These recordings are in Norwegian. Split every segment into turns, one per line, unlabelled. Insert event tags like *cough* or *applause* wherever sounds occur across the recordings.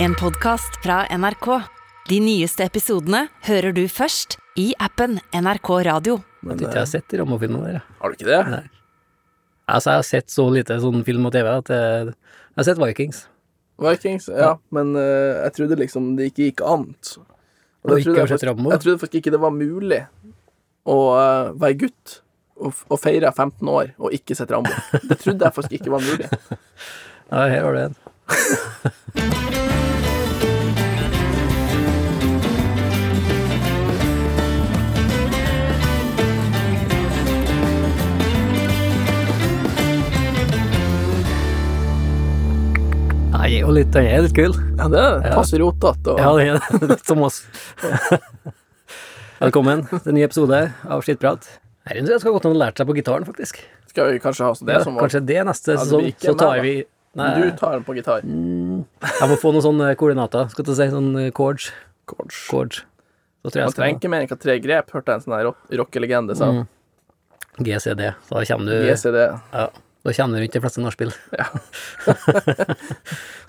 En podcast fra NRK. De nyeste episodene hører du først i appen NRK Radio.
Jeg tror ikke jeg har sett de Rambo-filmene der. jeg.
Har du ikke det?
Nei. Altså, jeg har sett så lite sånn film og TV at jeg, jeg har sett Vikings.
Vikings, ja. Men eh, jeg trodde liksom det ikke gikk annet.
Og
jeg
ikke
trodde
har sett
faktisk-
Rambo?
Jeg trodde faktisk ikke det var mulig å eh, være gutt og, f- og feire 15 år og ikke sett Rambo. Det trodde jeg faktisk ikke var mulig.
*laughs* Ja, her har du en. *laughs* Nei, og litt, den er litt kul.
Ja, det er passe rotete. og-
Ja, det er det. *laughs* Som oss. Velkommen til en ny episode av Skittprat. Her tror jeg skal godt han har lært seg på gitaren, faktisk.
Skal vi kanskje ha sånn det
Ja,
som var
kanskje det neste
Ja, det
sesong,
blir ikke
så
meg,
tar
da.
vi Nei, Mm.
Du tar den på gitar.
jeg må få noen sånne koordinater, skal jeg si. Sånn, Sånne chords.
Chords.
chords. Så tror jeg
Man
jeg
trenger
skal
ikke mer enn hva tre grep, hørte jeg en sånn her rock- rockelegende sa.
Mm. GCD. Da kommer du
GCD.
ja, Da kommer du rundt de fleste nachspiel.
Ja.
*laughs*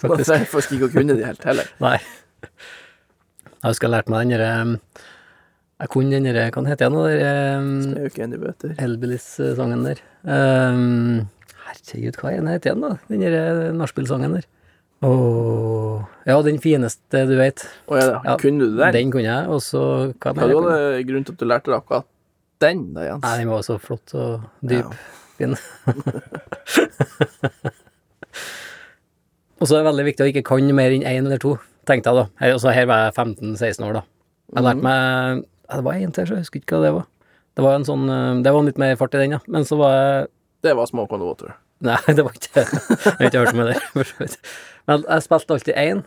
Man
Faktisk.
trenger faktisk ikke å kunne de helt heller.
Nei. Jeg husker jeg lærte meg den derre Jeg kunne den derre Hva heter den? eh, Den
Det
derre
er jo ikke enig bøter.
Hellbillies-sangen der. Ehm, herregud, hva er den heter igjen, da? Den derre nachspiel-sangen der. Åh Ja, den fineste du veit.
Å, ja, da.
Ja,
kunne du det der?
Den kunne jeg, og så
Hva
hva mer jeg kunne?
var det grunnen til at du lærte deg akkurat den, da, Jens?
Nei, den var så flott og dyp.
Ja.
Fin. *laughs* og så er det veldig viktig å ikke kan mer enn én eller to, tenkte jeg da. Her, altså, her var jeg 15-16 år, da. Jeg
Mhm.
lærte meg ja, Det var én til, så jeg husker ikke hva det var. Det var en sånn eh, Det var litt mer fart i den, ja. Men så var jeg
Det var Smoke on the Water.
Nei, *laughs* det var ikke Jeg har ikke hørt om det. for så vidt. Men jeg spilte alltid én,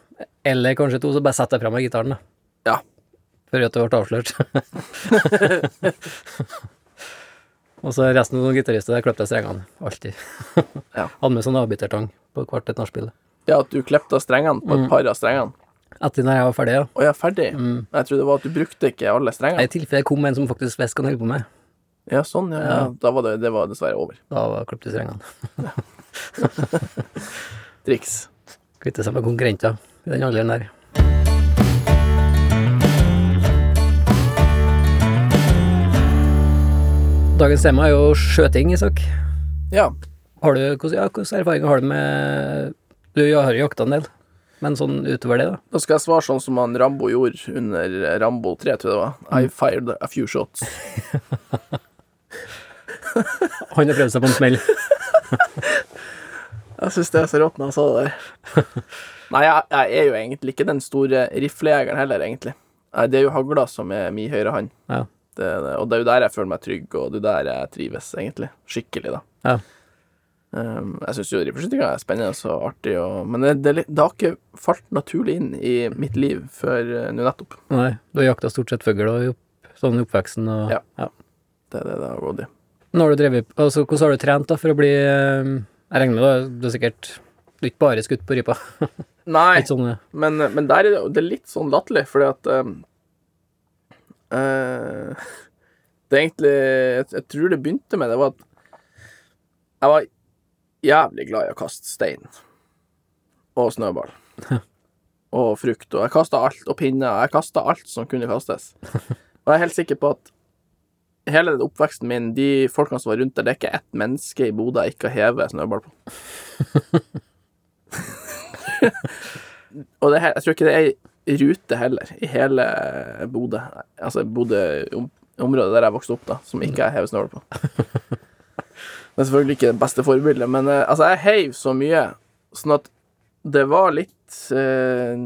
eller kanskje to, så bare setter jeg fra meg gitaren, da.
Ja.
Før at det ble avslørt. *laughs* Og så resten av noen gitarister der kløpte jeg strengene, alltid. *laughs*
Ja.
Hadde med sånn avbitertang på hvert et nachspiel.
Ja, at du klepte av strengene på et par av strengene.
Etter når jeg var ferdig, ja.
Å, jeg er ferdig. Jeg trodde det var at du brukte ikke alle
Nei,
strengene.
I tilfelle det kom en som faktisk visste hva han holdt på med,
Ja, sånn, ja. ja. Da var det, det var dessverre over.
da var- kløpte jeg strengene.
Triks.
Kvitte seg med konkurrenter i den alderen der. Dagens tema er jo skjøting, Isak.
Ja.
Har du, hvordan, ja, hvordan erfaringer har du med Du har jo jakta en del, men sånn utover det, da?
Da skal jeg svare sånn som han Rambo gjorde under Rambo 3, tror jeg det var. I fired a few shots.
Han har prøvd seg på en smell.
Jeg syns det er så rått når han sa det der. *laughs* Nei, jeg, jeg er jo egentlig ikke den store riflejegeren heller, egentlig. Nei, Det er jo hagla som er min høyre hånd.
*laughs* Ja.
Det, er det. og det er jo der jeg føler meg trygg, og det er der jeg trives, egentlig. Skikkelig, da.
Ja.
Um, jeg syns jo rifleskytinga er spennende og artig, og, men det, det, er litt- det har ikke falt naturlig inn i mitt liv før eh, nå nettopp.
Nei, du har jakta stort sett fugl og i opp, sånn i oppveksten og
Ja. Det er det det har gått i.
Nå har du drevet altså, Hvordan har du trent da for å bli eh, Jeg regner med da, du har sikkert du har ikke bare skutt på rypa?
Nei,
Litt sånn eh,
Men, men der er det, det er litt sånn latterlig, fordi at ehm, eh, *laughs* Det er egentlig jeg, jeg tror det begynte med det var at jeg var jævlig glad i å kaste stein og snøball. Og frukt. Og jeg kasta alt, og pinner. Jeg kasta alt som kunne kastes. Og jeg er helt sikker på at hele den oppveksten min, de folkene som var rundt der, det er ikke ett menneske i Bodø jeg ikke har hevet snøball på. Og det, her- jeg tror ikke det er ei rute heller, i hele Bodø. Altså Bodø-området der jeg vokste opp, da, som ikke jeg hever snøl
*laughs*
på. Det er selvfølgelig ikke det beste forbildet, men eh, altså, jeg heiv så mye, sånn at det var litt eh,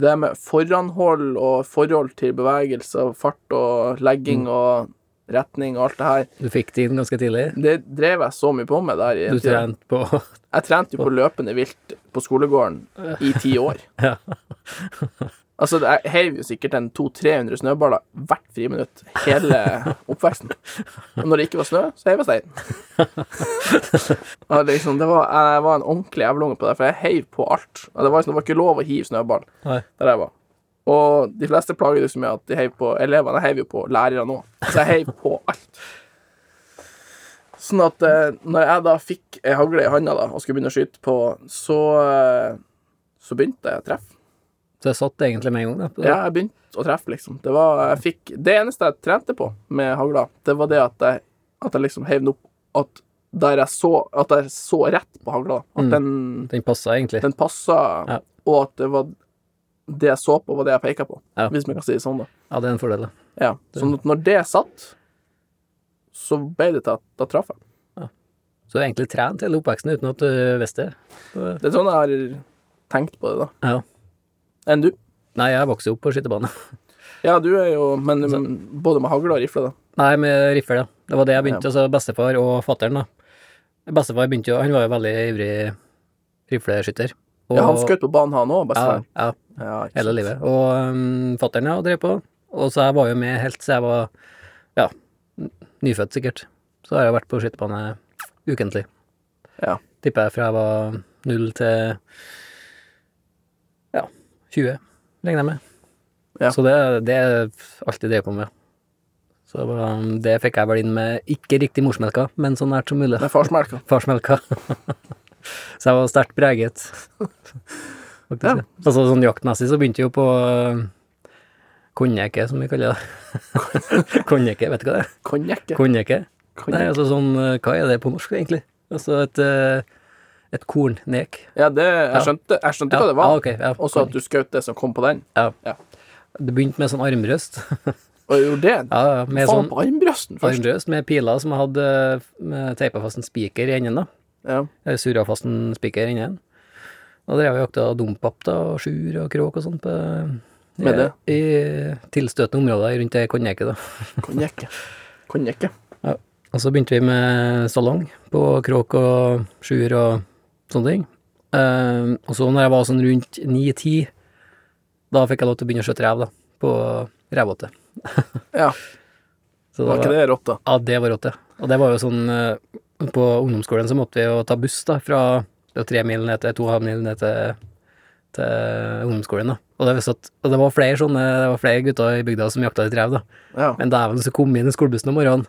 Det med foranhold og forhold til bevegelse og fart og legging
Mm.
og retning og alt det her,
Du fikk det inn ganske tidlig.
det drev jeg så mye på med der. i en
Du
tid.
trente på *laughs*
Jeg trente jo på løpende vilt på skolegården i ti år.
Ja.
Altså, det- jeg heiv jo sikkert en 200-300 snøballer hvert friminutt hele oppveksten. Og når det ikke var snø, så heiv jeg stein. Og liksom, det var, jeg var en ordentlig jævlunge på det, for jeg heiv på alt. Og det var, liksom, det var ikke lov å hive snøball
Nei.
der jeg var. Og de fleste plager det så mye at de heiv på elevene. Jeg heiv jo på lærere nå. Så jeg heiv på alt. Sånn at eh, når jeg da fikk ei hagle i handa da, og skulle begynne å skyte på, så, eh, så begynte jeg å treffe.
Så jeg satt egentlig med en gang. Da, på det.
Ja, jeg begynte å treffe, liksom. Det, var, jeg fikk, det eneste jeg trente på med hagla, det var det at jeg, at jeg liksom heiv den opp at der jeg så At jeg så rett på hagla. At
Mm.
den,
Den passa egentlig.
den passa,
Ja.
og at det var det jeg så på, var det jeg peka på.
Ja.
Hvis man kan si det sånn, da.
Ja, det er en fordel, da.
Ja. Sånn at når det satt, så ble det til at da traff jeg.
Så du har egentlig trent hele oppveksten uten at eh, du visste det.
Det er sånn jeg har tenkt på det, da.
Ja.
Enn du?
Nei, jeg vokste jo opp på skytebane. *laughs*
Ja, du er jo Men både med hagle og rifle, da.
Nei, med riffel, ja. Det var det jeg begynte, altså bestefar og fatteren, da. Bestefar begynte jo, han var jo veldig ivrig rifleskytter. Og-
Ja, han skjøt på banen, han òg,
ja,
bestefar.
ja,
Ja, ikke
hele
sant.
livet. Og um, fatteren, ja, drev på. Og så jeg var jo med helt så jeg var, ja, n- nyfødt sikkert. Så har jeg vært på skytebane ukentlig.
Ja.
Tipper jeg fra jeg var null til, ja, 20, regner jeg med.
Ja.
Så det, det er alt jeg drev på med. Så det var- det fikk jeg vel inn med ikke riktig morsmelka, men så nært som
*laughs*
mulig.
Med farsmelka.
Farsmelka. *laughs* så jeg var sterkt preget. Faktisk.
*laughs* Ja.
Altså, sånn jaktmessig så begynte jeg jo på øh, konjekke, som vi kaller det. *laughs* konjekke, vet du hva det er?
Konjekke.
Konjekke. Nei,
Konjekk.
altså sånn, øh, hva er det på norsk egentlig? Altså et, øh, et kornnek.
Ja, det, jeg skjønte, jeg skjønte hva det var.
Ja, Ah, ok, ja,
Og så at
konjekk.
du skjøt det som kom på den.
Det begynte med sånn armrøst.
Og jeg gjorde det.
*laughs* ja, ja, med
Faen
sånn
på armbrøsten først.
armrøst med piler som jeg hadde øh, teipet fast en spiker i enden da.
Ja.
Jeg surra fast en spiker inni den. Da drev jeg og jakta dompapp da, og sjur og kråk og sånt på
Med det?
I, i tilstøtende områder rundt det konjekket, da.
Konjekke. Konjekke.
Og så begynte vi med salong på kråk og sjur og sånne ting. Eh, og så når jeg var sånn rundt 9-10, da fikk jeg lov til å begynne å skjøte rev, da. På revåte.
Ja,
Så
var ikke det rått, da?
Ja, det var rått, det. Og det var jo sånn eh, På ungdomsskolen så måtte vi jo ta buss, da, fra det var tre mil ned til to og en halv mil ned til, til ungdomsskolen, da. Og det, var sånn- og det var flere sånne Det var flere gutter i bygda som jakta litt rev, da.
Ja.
Men dæven, så kom vi inn i skolebussen om morgenen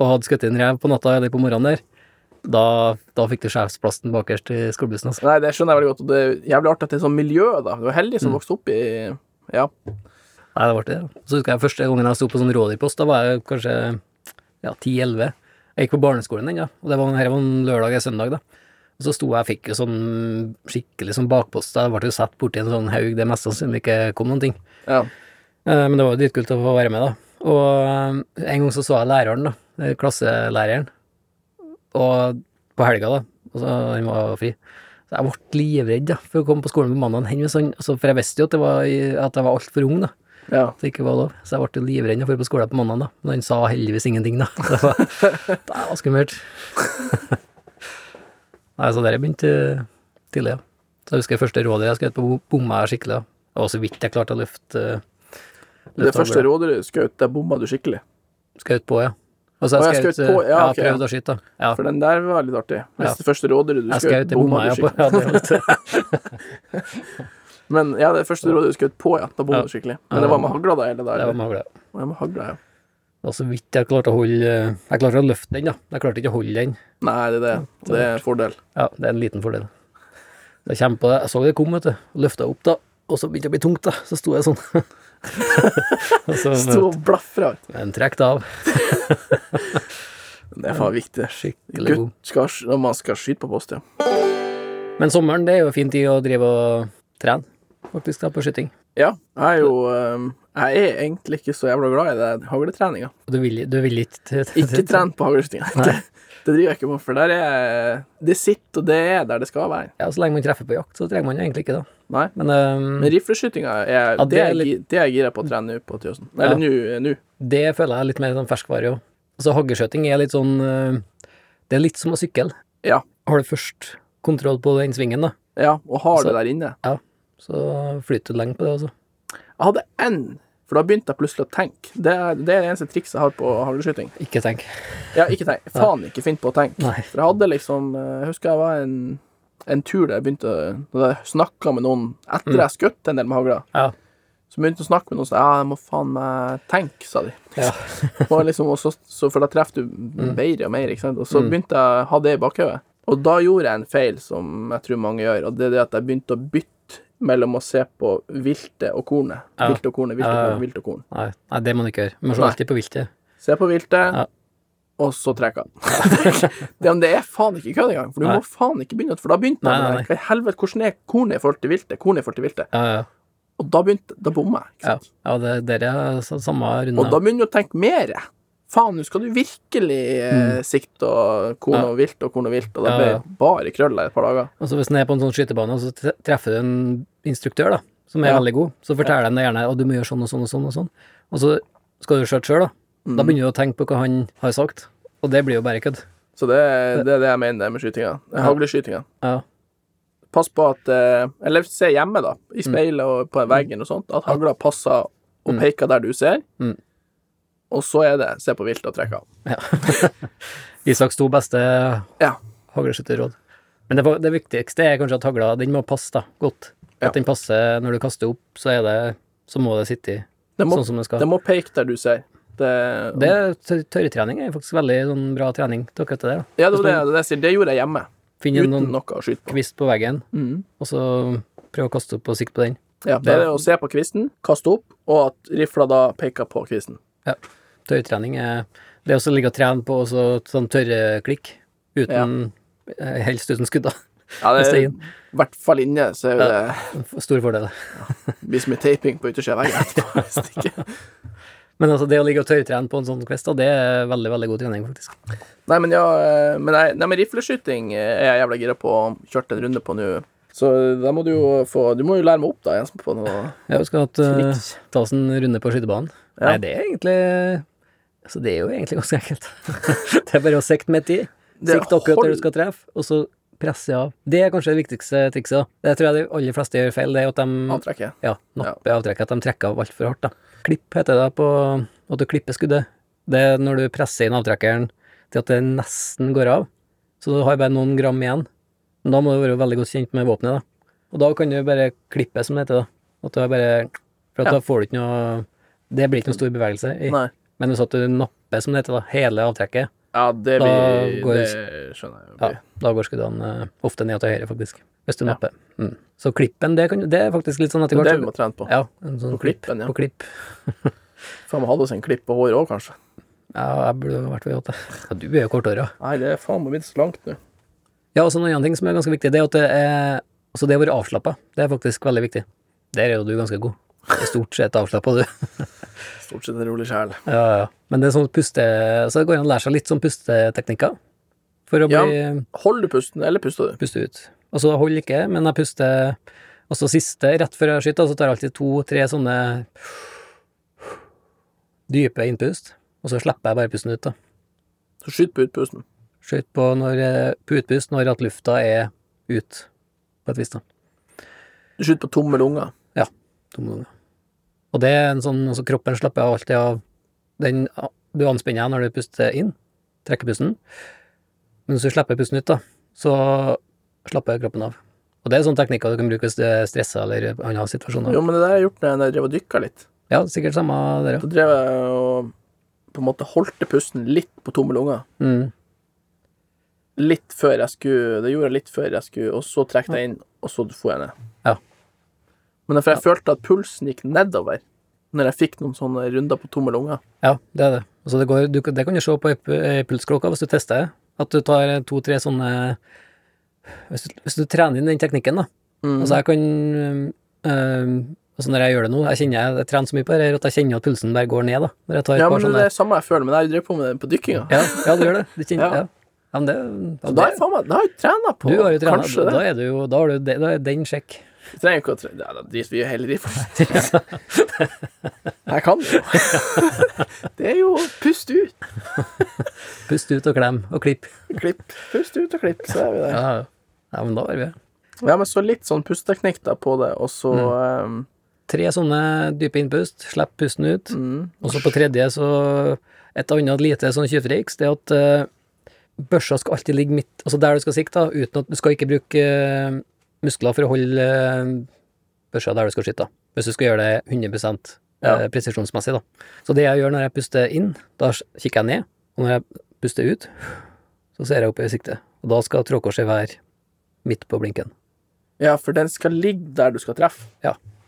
og hadde skutt inn rev på natta eller på morgenen der. Da, da fikk du sjefsplassen bakerst i skolebussen, altså.
Nei, det skjønner jeg veldig godt. Og det er jævlig artig at det er sånn miljø, da. Du er heldig
Mm.
som vokste opp i Ja.
Nei, det var det. da. Så husker jeg første gangen jeg sto på sånn rådyrpost, da var jeg kanskje ja, 10-11. Jeg gikk på barneskolen ennå, og det var, her var en lørdag eller søndag, da. Og så sto jeg og fikk jo sånn skikkelig sånn bakpost, da. jeg ble jo satt borti en sånn haug det meste som ikke kom noen ting.
ja.
Eh, Men det var jo dritkult å få være med, da. Og eh, en gang så så jeg læreren, da. eh, Klasselæreren. Og på helga, da. Og så Han var fri. Så jeg ble livredd da, for å komme på skolen på mandag, altså, for jeg visste jo at, det var, i- at jeg var altfor ung, da
ja.
at det ikke var lov. Så jeg ble jo livredd når jeg dro på skolen på mandag, da. Men han sa heldigvis ingenting, da. *laughs* Så det var, det var skummelt. Nei, så der jeg begynte eh, tidlig, ja. Så jeg husker første rådet jeg skjøt på bo- bomma jeg skikkelig, da. Det var så vidt jeg klarte å løfte eh,
Det første
sånn-
rådyret du skjøt, der bomma du skikkelig.
Skjøt på, ja. Og
Å,
så
jeg
jeg skjøt
skjøt på, ja,
Ja,
ok,
prøvde å skyte, da. Ja.
For den der var litt artig. Hvis
Ja.
det første rådyret du
Jeg
skjøt,
skjøt i bomma, ja.
du
På,
skikkelig.
ja det var litt-
Men ja, det første rådyret du skjøt på, ja, da bomma
Ja.
du skikkelig.
*laughs* Ja,
Men det
det
var med hagla, da, hele
det var
dagen.
magle.
Det var med hagla, ja.
Det var så vidt jeg klarte å holde eh, Jeg klarte å løfte den, da. Jeg klarte ikke å holde den.
Nei, det er det. Det er en fordel.
Ja, det er en liten fordel. Jeg kommer på det. Jeg så det kom, vet du. Løfta opp, da. Og så begynte det å bli tungt, da. Så sto jeg sånn. *laughs* og så
Sto og blafra.
en trekt av.
Det er faen viktig.
Skikkelig god.
Gutt skal, når man skal skyte på post, ja.
Men sommeren, det er jo en fin tid å drive og trene, faktisk, da, på skyting.
Ja, jeg er jo ehm, Jeg er egentlig ikke så jævla glad i det
*laughs*
hagletreninga.
Og du vil, du vil ikke til- til-
Ikke tren på hagleskytinga. Det, det driver jeg ikke på, for der er Det sitter, og det er der det skal være.
Ja, så lenge man treffer på jakt, så trenger man jo egentlig ikke det.
Nei.
Men ehm, øhm,
Men rifleskytinga er,
Mm. Ja, det
det
er
er
litt-
gi- det er jeg gira på å trene nå på Tjøsen. Eller nå- nå.
det føler jeg er litt mer sånn ferskvare òg. Altså, hagleskjøting er litt sånn øh, Det er litt som å sykle.
Ja.
Har du først kontroll på den svingen, da,
Ja, og har
Så-
det der inne.
så flyter du lenge på det, altså.
Jeg hadde én, for da begynte jeg plutselig å tenke. Det er det, er det eneste trikset jeg har på hagleskyting.
Ikke tenk.
Ja, ikke tenk. Faen ikke finn på å tenke.
Nei.
For jeg hadde liksom eh, Jeg husker jeg var en, en tur der jeg begynte å- Da jeg snakka med noen etter
Mm.
jeg skjøt en del med hagla.
Ja.
Så begynte jeg å snakke med noen og sa ja, jeg må faen meg tenke, sa de.
Ja.
Og liksom, og så, så, for da treffer du
Mm.
bedre og mer, ikke sant. Og så begynte jeg å ha det i bakhodet. Og da gjorde jeg en feil som jeg tror mange gjør, og det er det at jeg begynte å bytte mellom å se på viltet og kornet.
Ja.
Vilt og kornet, vilt og
Ja, ja, ja.
kornet, vilt og korn.
*laughs* Nei, nei, det må du ikke gjøre. Man ser
Nei.
alltid på viltet.
Se på viltet,
Ja.
og så trekke han. *laughs* det, men det er faen ikke kødd engang, for du
Nei.
må faen ikke begynne, for da begynte
Nei,
han
nei,
med det der. Hva i helvete, hvordan er kornet i forhold til viltet? Kornet i forhold til viltet.
Ja, ja.
Og da begynte Da bomma jeg. ikke
ja.
sant?
ja det, dere er så- samme
Og da
runde.
begynner du å tenke mer. Faen, nå skal du virkelig eh, sikte og korn
Mm. Ja.
og vilt og korn og vilt, og da
Ja,
ble
ja.
det bare krøll der et par dager.
Og så hvis den er på en sånn skytebane, og så tre- treffer du en instruktør da, som er
Ja.
veldig god, så forteller han deg gjerne at du må gjøre sånn og sånn og sånn, og sånn. Og så skal du skjøte sjøl, da. Da
Mm.
begynner du å tenke på hva han har sagt, og det blir jo bare kødd.
Så det, det er det jeg mener med skytinga. Hagleskytinga.
Ja.
Pass på at eh, Eller se hjemme, da, i speilet og på veggen og sånt, at hagla passer og peker der du ser.
Mm.
Og så er det se på viltet og trekke av.
ja. Isaks to beste
Ja.
hagleskytterråd. Men det, var- det viktigste er kanskje at hagla den må passe da, godt.
Ja.
At den passer når du kaster opp, så, er det, så må det sitte i
Det må,
sånn som det skal.
det må peke der du ser. Det,
Det er tør- Tørretrening er faktisk veldig sånn, bra trening til akkurat det der. da.
ja, det, var det, det, jeg sier. det gjorde jeg hjemme,
Finn en
uten
noen
noe å skyte på.
kvist på veggen,
Mm.
og så prøv å kaste opp og sikte på den.
Ja, det er det å se på kvisten, kaste opp, og at rifla da peker på kvisten.
Ja. Tørretrening er det er også å ligge og trene på og så sånn tørreklikk, uten, eh, helst uten skudd, da.
Ja, det er,
Neste inn.
I hvert fall inne, så er jo det
Stor fordel.
blir så mye taping på yttersida av veggen etterpå. hvis det ikke-
Men altså, det å ligge og tørrtrene på en sånn kvist, da, det er veldig, veldig god trening, faktisk.
Nei, men ja eh, Men, nei, nei, men rifleskyting eh, er jeg jævla gira på og kjørt en runde på nå. Så da må du jo få Du må jo lære meg opp, da, Jens, på noe
Ja, vi skal hatt, eh,
triks.
ta oss en runde på skytebanen.
Ja.
Nei, det er egentlig Altså, det er jo egentlig ganske enkelt. *laughs* det er bare å sikte midt i.
Det
Sikte akkurat der
hold-
du skal treffe, og så presse av. Det er kanskje det viktigste trikset. da. Det tror jeg de aller fleste gjør feil, det er at de
Antrekket.
ja, napper avtrekket, at de trekker av altfor hardt. da. Klipp heter det på at du klipper skuddet. Det er når du presser inn avtrekkeren til at det nesten går av, så du har bare noen gram igjen. Men da må du være veldig godt kjent med våpenet, da. Og da kan du bare klippe, som det heter, da. At du har bare For at da får du ikke noe Det blir ikke noe stor bevegelse. I.
Nei.
Men hvis at du napper, som det heter, da, hele avtrekket,
Ja, det
Da
blir
går-
Det skjønner jeg. jo
ja,
blir-
da går skuddene eh, ofte ned til høyre, faktisk. Hvis du napper. Mm. Så klippen, det, kan, du- det er faktisk litt sånn etter
Det er det
hvert.
vi
så-
må trene på.
Ja, en sånn
På klippen, ja.
På klipp.
Faen, vi hadde oss en klipp på håret òg, kanskje.
Ja, jeg burde i hvert fall gjort det. Ja, du er jo korthåra.
Nei, det er faen meg blitt så langt nå.
Ja, og så en annen ting som er ganske viktig, det er at det er Altså, det å være avslappa, det er faktisk veldig viktig. Der er jo du ganske god. Du er Stort sett avslappa, du.
Stort sett en rolig sjel.
Ja, ja. Men det er sånn puste... Så det går an å lære seg litt sånn pusteteknikker for å bli
Ja. Holder du pusten, eller puster du?
puste ut. Altså, jeg holder ikke, men jeg puster Og så siste, rett før jeg skyter, så tar jeg alltid to-tre sånne dype innpust, og så slipper jeg bare pusten ut, da.
Så skyt på utpusten.
Skøyt på, når, eh, på utpust når at lufta er ut, på et vis, da.
Du skyter på tomme lunger.
Tomme lunger. Og det er en sånn altså Kroppen slapper av alltid av den Du anspenner deg når du puster inn, trekker pusten. Men hvis du slipper pusten ut, da, så slapper kroppen av. Og det er sånne teknikker du kan bruke hvis du er stressa eller andre situasjoner.
Jo, men det der har jeg gjort når jeg- når jeg drev og dykka litt.
Ja, sikkert samme der, ja.
Da drev jeg og på en måte holdt pusten litt på tomme lunger.
Mm.
Litt før jeg skulle Det gjorde jeg litt før jeg skulle, og så trekte jeg inn, og så dro jeg ned.
Ja.
Men derfor jeg følte at pulsen gikk nedover når jeg fikk noen sånne runder på tomme lunger.
Ja, det er det. Altså det, går, du, det kan du se på ei pu- ei pulsklokka hvis du tester det. At du tar to-tre sånne hvis du, hvis du trener inn den teknikken, da.
Mm.
Altså jeg kan øhm, altså Når jeg gjør det nå, jeg kjenner jeg, jeg trener så mye på det her at jeg kjenner at pulsen bare går ned, da. Når jeg tar et
Ja, men
par
det er
sånne
det samme jeg føler, men jeg drev på med det på dykkinga.
sånn ja, ja, du gjør det. Du kjenner,
Ja.
ja. Ja. men det, ja,
Så da har jeg
det
faen meg Da har jeg trena på
Du har jo trena,
Kanskje
da
det.
er du jo Da har du det- da er den sjekk.
Jeg trenger ikke å trene Ja, da driter vi jo heller
*laughs*
i for Jeg kan det jo. *laughs* Det er jo Pust ut.
Pust ut og klem og klipp.
Klipp. Pust ut og klipp, så er vi der.
Ja, ja. ja, men da har vi det.
Ja, men så litt sånn pusteteknikk da på det, og så
Mm.
ehm,
Tre sånne dype innpust, slipp pusten ut.
mm,
Og så på tredje, så et annet lite sånn tjuvtriks, det er at eh, børsa skal alltid ligge midt, altså der du skal sikte, da, uten at du skal ikke bruke eh, muskler for å holde eh, børsa der du skal skyte, da. hvis du skal gjøre det 100 eh,
Ja.
presisjonsmessig. da. Så det jeg gjør når jeg puster inn, da s- kikker jeg ned, og når jeg puster ut, så ser jeg opp i sikte. Og da skal trådkorset være midt på blinken.
Ja, for den skal ligge der du skal treffe,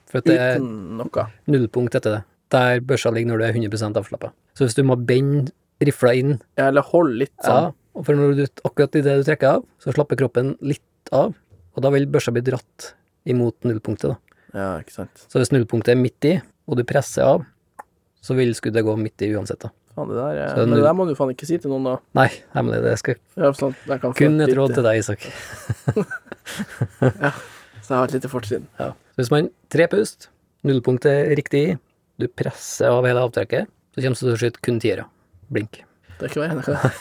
For at det er
uten noe.
nullpunkt etter det. Der børsa ligger når du er 100 avslappa. Så hvis du må bende rifla inn
Ja, eller hold litt
ja,
sånn.
og for når du, akkurat i det du trekker av, så slapper kroppen litt av, og da vil børsa bli dratt imot nullpunktet. da.
Ja, ikke sant.
Så hvis nullpunktet er midt i, og du presser av, så vil skuddet gå midt i uansett. da.
Faen, det der,
Så
er- men
nu-
det der må du faen ikke si til noen, da.
Nei, hemmelig, det skal
Ja, sånn, at jeg kan få
kun
et
et råd
lite-
til deg, Isak.
Så jeg har et lite fortrinn.
Ja. Så hvis man tre pust, nullpunktet er riktig i, du presser av hele avtrekket, så kommer du til å skyte kun tiere. Blink.
Det er ikke verre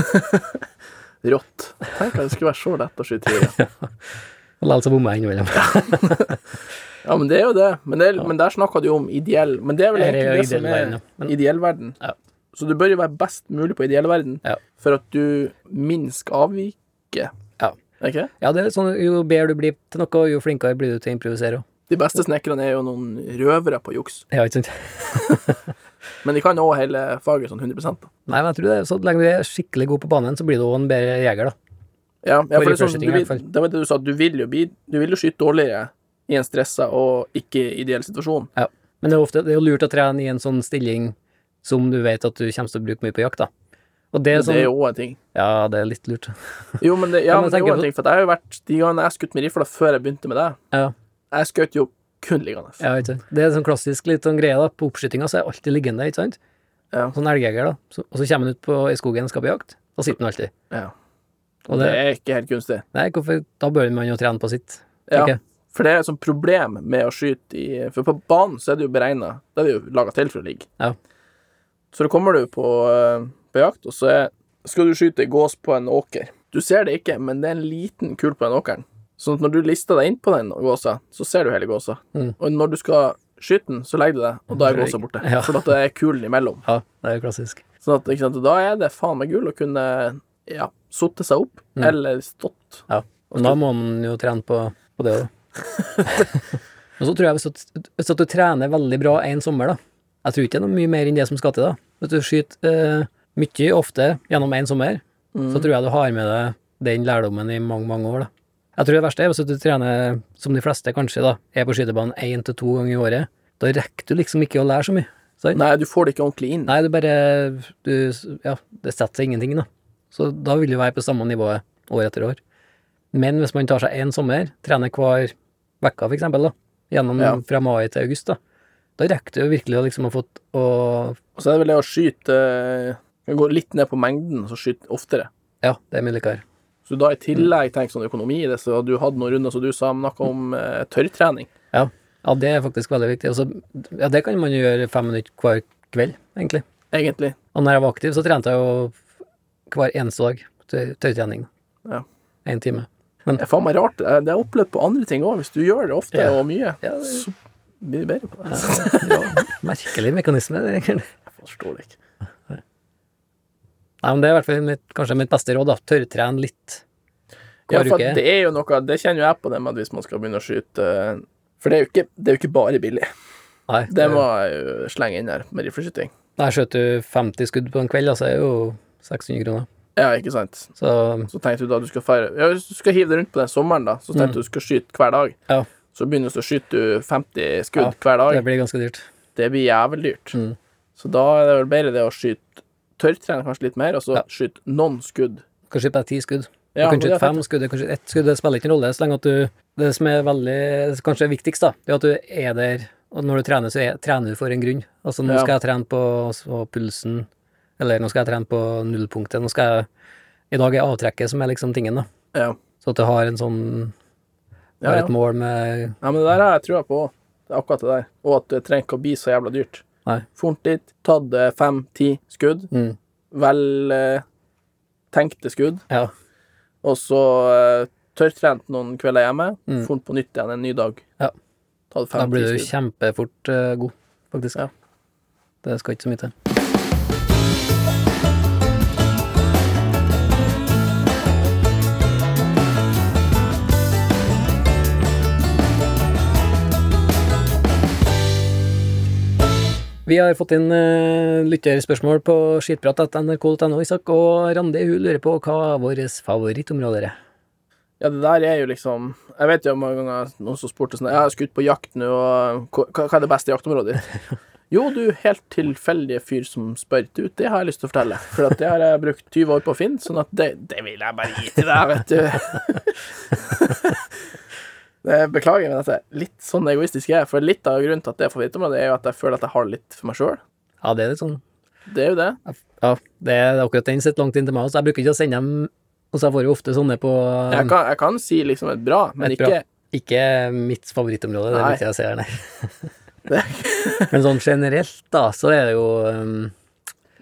enn
*laughs*
det. Rått. Tenk at det skulle være så lett å skyte
*laughs*
i.
Og Likevel så bommer jeg innimellom.
Ja, men det er jo det. Men, det, er- men der snakka du jo om ideell. Men det er vel
Ja, det er
egentlig det,
jo
som
ideell verden,
er
ja. Men-
ideell verden.
Ja.
Så du bør jo være best mulig på ideell verden
Ja.
for at du minst avviker.
Ja.
Er ikke det?
Ja, det er sånn, jo bedre du blir til noe, jo flinkere blir du til å improvisere. også.
De beste snekkerne er jo noen røvere på juks,
Ja, ikke sant?
men de kan òg hele faget sånn 100 da.
Nei, men jeg tror det er sånn, så lenge du er skikkelig god på banen, så blir du også en bedre jeger, da.
Ja, ja for det, er sånn,
rifleskyting
du
i hvert
vil,
fall.
det var det du sa, du vil jo bli Du vil jo skyte dårligere i en stressa og ikke ideell situasjon.
Men det er, ofte, det er jo lurt å trene i en sånn stilling som du vet at du kommer til å bruke mye på jakt, da. Og det er
Det
sånn
er jo òg en ting.
Ja, det er litt lurt.
Jo, men det,
Ja,
ja, men
men
det er
tenker
jo en
på-
ting, for at jeg har jo vært De gangene jeg skutt med rifla før jeg begynte med deg,
Ja.
jeg skjøt jo kun liggende.
Ja, ikke sant. Det er sånn klassisk litt sånn greie, da. På oppskytinga så er jeg alltid liggende, ikke sant.
Ja.
Sånn elgjeger, da. Så, og så kommer han ut på, i skogen og skal på jakt. Da sitter han alltid.
Ja. Det
Og det,
er ikke helt kunstig.
nei, hvorfor Da bør man jo trene på sitt.
Ja,
tenker jeg.
for det er et sånt problem med å skyte i For på banen så er det jo beregna. Da er det jo laga til for å ligge.
Ja.
Så da kommer du på, eh, på jakt, og så er, skal du skyte ei gås på en åker. Du ser det ikke, men det er en liten kul på den åkeren. Sånn at når du lister deg inn på den gåsa, så ser du hele gåsa.
Mm.
Og når du skal skyte den, så legger du deg, og da er gåsa borte.
Ja.
For at det er kulen imellom.
Ja, det er jo klassisk.
Sånn at, ikke sant, og da er det faen meg gull å kunne ja, sotte seg opp,
Mm.
eller stått.
Ja. Men da må man jo trene på, på det òg, da. *laughs* Og så tror jeg hvis at, hvis at du trener veldig bra en sommer, da Jeg tror ikke det er noe mye mer enn det som skal til, da. Hvis du skyter eh, mye ofte gjennom en sommer, så tror jeg du har med deg den lærdommen i mange, mange år, da. Jeg tror det verste er hvis at du trener, som de fleste kanskje, da, er på skytebanen én til to ganger i året. Da rekker du liksom ikke å lære så mye. Sant?
Nei, du får det ikke ordentlig inn.
Nei, du bare du, Ja, det setter seg ingenting, da. Så da vil du være på samme nivået år etter år. Men hvis man tar seg én sommer, trener hver uke for eksempel, da, gjennom
Ja.
fra mai til august, da, da rekker du jo virkelig å liksom ha fått å
Og så er det vel det å skyte eh, Gå litt ned på mengden, så skyte oftere.
Ja, det er mye likere.
Så da i
Mm.
tillegg tenk sånn økonomi i det, så du hadde noen runder som du sa noe om eh, tørrtrening.
Ja. ja, det er faktisk veldig viktig. Og så- ja, det kan man jo gjøre fem minutter hver kveld, egentlig.
Egentlig.
Og når jeg var aktiv, så trente jeg jo hver eneste dag til tautrening.
Ja.
Én time.
Det er faen meg rart. Eh, Det har jeg opplevd på andre ting òg. Hvis du gjør det ofte
Ja.
og mye,
Ja, det-
så blir du bedre på det.
Ja, merkelig mekanisme, det egentlig.
Jeg forstår det ikke.
Nei, men det er i hvert fall mitt, kanskje mitt beste råd, da. Tørrtren litt
Ja,
hver
for
uke.
at det er jo noe Det kjenner jo jeg på det med at hvis man skal begynne å skyte eh, For det er jo ikke, det er jo ikke bare billig.
Nei,
Det må jeg jo slenge inn her med rifleskyting.
Der skjøt du 50 skudd på en kveld, altså, det er jo 600 kroner.
Ja, ikke sant.
Så
Så tenkte du da du skal feire Ja, Hvis du skal hive deg rundt på den sommeren, da, så tenkte du du skal skyte hver dag.
Mm. Ja.
Så begynner du å skyte 50 skudd
Ja,
hver dag.
det blir ganske dyrt.
Det blir jævlig dyrt.
Mm.
Så da er det vel bedre det å skyte tørrtrene kanskje litt mer, og så
Ja.
skyte noen skudd.
Kanskje bare ti skudd. Du
Ja, men
kan
det
skyte
er fett.
fem skudd, kanskje ett skudd, det spiller ikke noen rolle. Så lenge at du Det som er veldig det som Kanskje er viktigst, da, det er at du er der, og når du trener, så er, trener du for en grunn. Altså, nå
Ja.
skal jeg trene på så pulsen, eller nå skal jeg trene på nullpunktet, nå skal jeg I dag er avtrekket som er liksom tingen, da.
Ja.
Så at du har en sånn
Ja,
Har
ja.
et mål med
ja, men det der har jeg trua på òg. Akkurat det der. Og at det trenger ikke å bli så jævla dyrt.
Nei.
Fort dit, tatt fem-ti skudd,
mm,
vel eh, tenkte skudd,
Ja.
og så eh, tørrtrent noen kvelder hjemme,
Mm.
funnet på nytt igjen en ny dag.
Ja.
Tatt
Da blir
fem-ti
du
skudd.
kjempefort eh, god, faktisk.
Ja.
Det skal ikke så mye til. Vi har fått inn eh, lytterspørsmål på skitprat.nrk.no, Isak, og Randi hun lurer på hva våre favorittområder er.
Ja, det der er jo liksom Jeg vet jo mange ganger noen som spurte sånn Jeg har skutt på jakt nå, og hva, hva er det beste jaktområdet ditt?
*laughs*
Jo, du helt tilfeldige fyr som spør. Du, det har jeg lyst til å fortelle, for at det har jeg brukt 20 år på å finne, sånn at det, det vil jeg bare gi til deg, vet du.
*laughs*
Det- Beklager, men at jeg er litt sånn egoistisk jeg er, for litt av grunnen til at det er favorittområdet, er jo at jeg føler at jeg har litt for meg sjøl.
Ja, det er litt sånn
Det er jo det.
Ja, det er akkurat den sitter langt inn til meg, så jeg bruker ikke å sende dem Og så får jeg ofte sånne på
Jeg kan, jeg kan si liksom et bra, men
Um, Et bra.
ikke
Ikke mitt favorittområde, det
Nei.
liker jeg å se her, nei.
Det
Men sånn generelt, da, så er det jo um,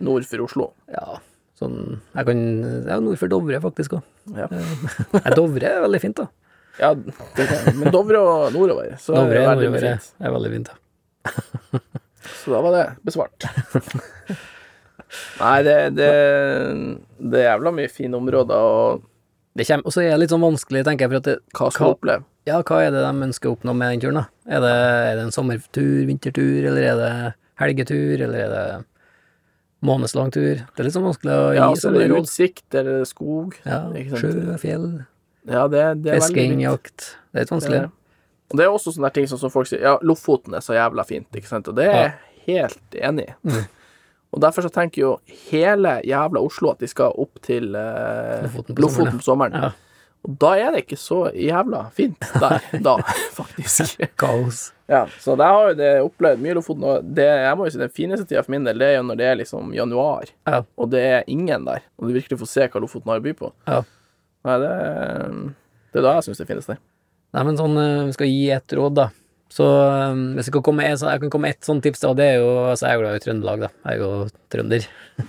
*laughs* nord for Oslo.
Ja, sånn Jeg kan Ja, nord for Dovre, faktisk òg.
Ja.
Nei, Dovre er veldig
*laughs*
fint, da.
Ja, det kan. Men Dovre og nordover, så er
Dovre
det
er,
veldig mye
nordover,
fint.
er veldig fint, da.
Så da var det besvart. Nei, det, det, det er jævla mye fine områder, og
Det kommer- Og så er det litt sånn vanskelig, tenker jeg, for at det,
hva skal
Hva-
du oppleve?
Ja, hva er det de ønsker å oppnå med den turen, da? Er det, er det en sommertur, vintertur, eller er det helgetur, eller er det månedslang tur? Det er litt sånn vanskelig å gi
Ja, altså,
sånne
det er
råd.
utsikt, eller skog.
Ja,
ikke sant?
sjø, fjell,
Ja, det, det er veldig
fisking,
fint.
jakt. Det er litt
Det
vanskelig.
er det. Og det er også sånne der ting sånn som, som folk sier, ja, Lofoten er så jævla fint, ikke sant, og det er jeg helt enig i.
Mm.
Og derfor så tenker jo hele jævla Oslo at de skal opp til eh,
Lofoten på sommeren,
Lofoten på sommeren.
Ja.
Og da er det ikke så jævla fint der, *laughs* da, faktisk.
Kaos.
Ja, så der har jo det opplevd mye i Lofoten, og det, jeg må jo si den fineste tida for min del, det er jo når det er liksom januar,
Ja.
og det er ingen der, og du virkelig får se hva Lofoten har å by på.
Ja.
Nei, det, er- det er da jeg syns det finnes der.
Nei, men sånn, eh, vi skal gi et råd, da. Så eh, hvis jeg kan komme med et, så- jeg kan komme med et sånt tips, da, det er jo altså, Jeg er jo glad i Trøndelag, da. Jeg er jo trønder.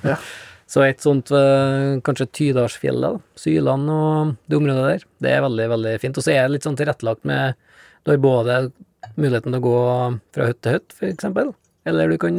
Ja.
*laughs* Så et sånt eh, kanskje Tydalsfjellet, da. Syland og det området der. Det er veldig, veldig fint. Og så er det litt sånn tilrettelagt med Du har både muligheten til å gå fra hytte til hytte, for eksempel. Eller du kan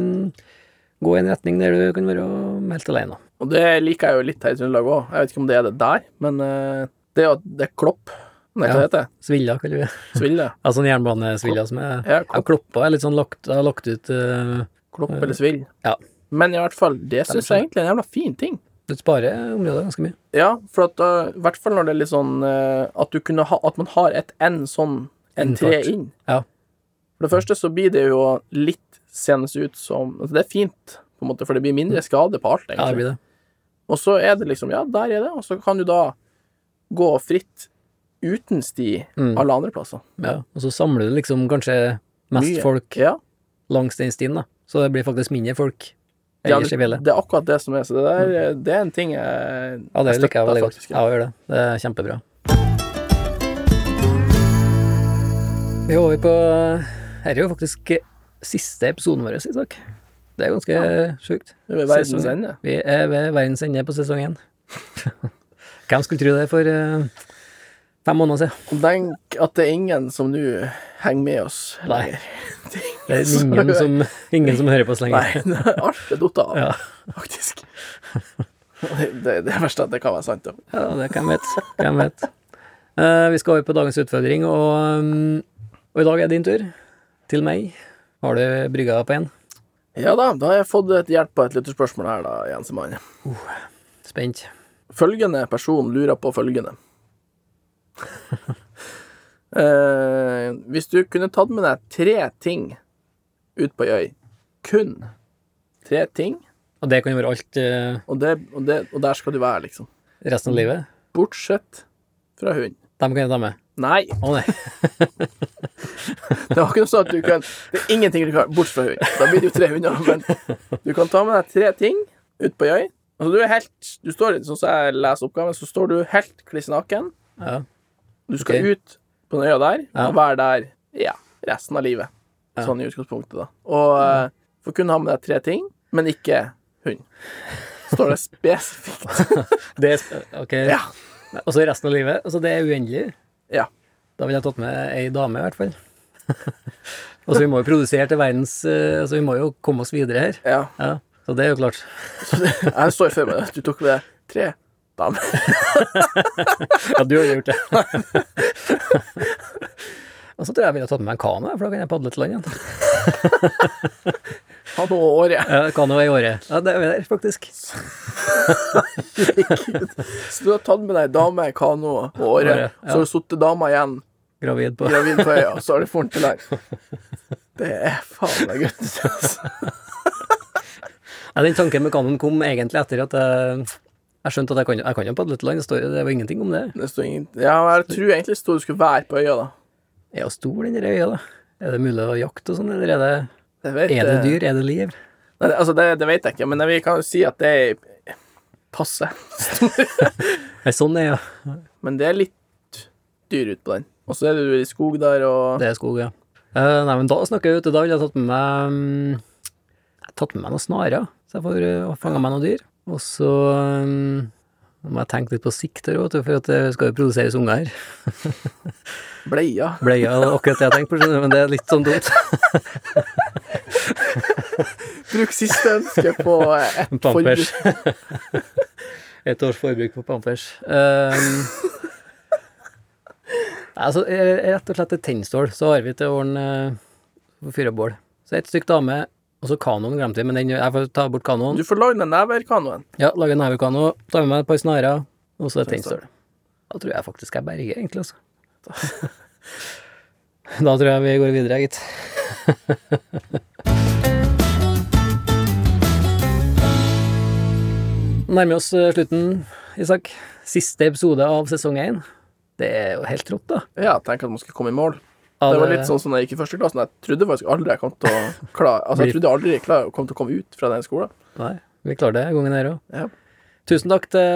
gå i en retning der du kan være helt alene.
Og det liker jeg jo litt her i Trøndelag òg. Jeg vet ikke om det er det der, men eh, det er jo at det er klopp. Nei, hva
Ja.
heter det?
Svilla, kaller vi det.
Sville?
Altså en jernbanesvilla som er
Ja,
Ja,
klopp,
kloppa er litt sånn lagt, har lagt ut eh,
klopp eller svill.
Ja.
Men i hvert fall, det syns jeg egentlig er en jævla fin ting.
Du sparer området ganske mye.
Ja, for at uh, i hvert fall når det er litt sånn eh, at, du kunne ha, at man har et N sånn, en tre
Innfart.
inn.
Ja.
For det første så blir det jo litt senest ut som altså Det er fint, på en måte, for det blir mindre skade på alt,
Mm. Ja, det
egentlig.
blir det.
og så er det liksom Ja, der er det, og så kan du da gå fritt uten sti
Mm.
alle andre plasser.
Ja. Og så samler du liksom kanskje mest
Mye.
folk
Ja.
langs den stien, da. Så det blir faktisk mindre folk
Ja,
ellers
det,
i fjellet.
det er akkurat det som er, så det,
Mm.
der, eh, det er en ting jeg,
Ja, det
jeg
liker jeg
støtter,
veldig godt.
faktisk.
Ja, jeg gjør det. Det er kjempebra. Vi er over på Her er jo faktisk siste episoden vår, Isak. Det er ganske sjukt.
Det er ved verdens
Sesong-
ende.
Vi er ved verdens ende på sesong én. *laughs* Hvem skulle tro det for eh, fem måneder siden?
Og Tenk at det er ingen som nå henger med oss.
Nei.
Det er
Det er
ingen som
ingen
hører-
som, ingen som hører på oss lenger.
Nei, *laughs* det- alt er datt av,
Ja.
faktisk. *laughs* Det, det, det verste er at det kan være sant. da.
Ja, det kan vi vite. Hvem vet. Eh, vi skal over på dagens utfordring, og, mm, og i dag er det din tur. Til meg. Har du brygga på én?
Ja da, da har jeg fått et hjelp av et lytterspørsmål her, da, Jensemann.
Spent.
Følgende person lurer på følgende. *laughs* eh, hvis du kunne tatt med deg tre ting ut på ei øy, kun tre ting,
Og det kan jo være alt eh,
og, det, og, det, og der skal du være, liksom.
resten av livet.
Bortsett fra hund.
Dem kan jeg ta med.
Nei,
Å nei.
det var ikke noe sånn at du kan Det er ingenting du kan Bortsett fra hund. Da blir det jo tre hunder. Men du kan ta med deg tre ting ut på ei øy. Altså, du er helt Du står litt sånn som jeg leser oppgaven, så står du helt kliss naken.
Ja.
Du skal
Ok.
ut på den øya der
Ja.
og være der ja, resten av livet.
Ja.
Sånn i utgangspunktet, da. Og eh, får kun ha med deg tre ting, men ikke hund. Står det spesifikt.
Det er, ok.
Ja.
Og så resten av livet. Altså, det er uendelig.
ja.
Da ville jeg tatt med ei dame, i hvert fall. *laughs* og så vi må jo produsere til verdens eh, Altså, vi må jo komme oss videre her.
ja.
Ja. Så det er jo klart.
Så det, jeg står for meg at du tok med deg tre damer.
Ja, du har jo gjort *laughs* det. og så tror jeg jeg ville tatt med meg en kano, for da kan jeg padle til land igjen.
Ha noe å åre.
Ja, det kan jo være i året. Ja, det er vi der, faktisk.
Så du har tatt med deg dame, kano og åre.
Åre, ja.
Så har du sittet dama igjen,
Gravid på
gravid på øya, så har du funnet til der. Det er faen meg gutt. altså.
Ja, den tanken med kanoen kom egentlig etter at jeg, jeg skjønte at jeg kan, jeg kan jo padle til land. Det, står, jo- det var ingenting om det.
Det står ingen Ja, men jeg tror egentlig det sto du skulle være på øya, da.
Er jo stor, den der øya, da. Er det mulig å jakte og sånn, eller er det,
Det vet
er det
jeg.
dyr? Er det liv?
Nei, det- altså, det, det vet jeg ikke, men vi kan jo si at det er passe.
Nei, sånn er jo
Men det er litt dyr ut på den. Og så er du i skog der, og
Det er skog, ja. Eh, nei, men da snakker jeg ute. Da ville jeg tatt med meg mm, Jeg har tatt med meg noen snarer, så jeg får uh, fanga meg noen dyr. Og så mm, nå må jeg tenke litt på sikt her, vet du, for at det skal jo produseres unger *laughs* her.
bleier.
Bleia det er akkurat det jeg tenkte på, skjønner du, men det er litt sånn dumt.
Bruk siste ønske på eh, ett forbruk.
*laughs* Pampers. *laughs* Ett års forbruk på Pampers. Um, Nei, altså, eh, rett og slett et tennstål, så har vi til å ordne uh, fyrebål. Så ett stykk dame, og så kanoen glemte vi, men den, jeg får ta bort kanoen.
Du får lagd den neverkanoen.
Ja, lage en neverkano, ta med meg et par snarer, og så et
Tennstål.
tennstål. Da tror jeg faktisk jeg berger, egentlig, altså. *laughs* Da tror jeg vi går videre, gitt. *laughs* Nærmer oss eh, slutten, Isak. Siste episode av sesong én. Det er jo helt rått, da. eh,
Ja, tenk at man skal komme i mål.
Ja,
Det var litt sånn som da jeg gikk i første klassen. Jeg trodde faktisk aldri jeg kom til å klare Altså, jeg trodde jeg aldri jeg klar, kom til å komme ut fra den skolen.
Nei, vi klarer det gangen her òg.
Ja.
Tusen takk til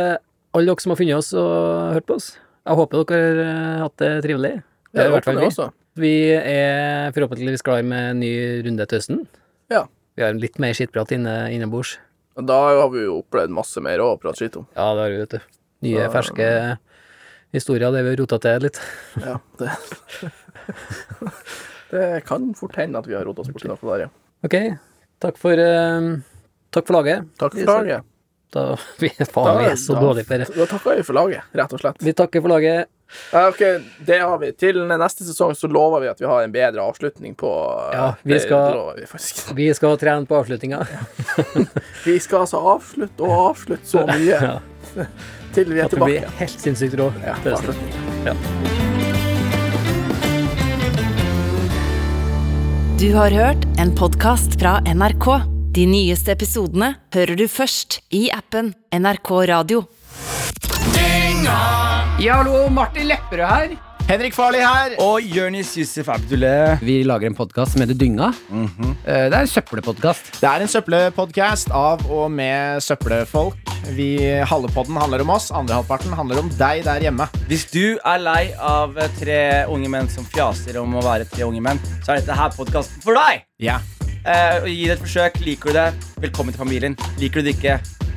alle dere som har funnet oss og hørt på oss. Jeg håper dere har eh, hatt det trivelig. Det
Ja,
har i hvert fall vi.
også.
Vi er forhåpentligvis klar med en ny runde til høsten.
Ja.
Vi har litt mer skittprat inne, innebords.
Og da har vi jo opplevd masse mer å prate skitt om.
Ja, det har vi, vet du. Nye,
Så-
ferske historier der vi har rota til litt.
Ja, det *laughs* Det kan fort hende at vi har rota oss borti noe der, ja.
Ok, takk for, eh, takk for laget.
Takk for laget.
Da, *laughs* vi, faen, vi er så
da-
dårlige på det.
Da takker vi for laget, rett og slett.
Vi takker for laget.
Ja, ok, det har vi. Til neste sesong så lover vi at vi har en bedre avslutning på
Ja, vi
det
skal-
lover vi, faktisk.
Vi skal trene på avslutninga.
vi skal altså avslutte og avslutte
*laughs*
så mye
Ja.
til vi er
At vi blir
tilbake.
helt sinnssykt rå.
Ja,
Det er sånn.
avslutning.
Du har hørt en podkast fra NRK. De nyeste episodene hører du først i appen NRK Radio.
Ja, hallo, Martin Lepperød her.
Henrik Farley her. Og Jonis Yusuf Abdullah.
Vi lager en podkast som heter Dynga. Eh, Det er en søppelpodkast.
Det er en søppelpodkast av og med søppelfolk. Vi, halve podden handler om oss, andre halvparten handler om deg der hjemme.
Hvis du er lei av eh, tre unge menn som fjaser om å være tre unge menn, så er dette her podkasten for deg!
Ja.
Eh, og gi det et forsøk. Liker du det, velkommen til familien. Liker du det ikke,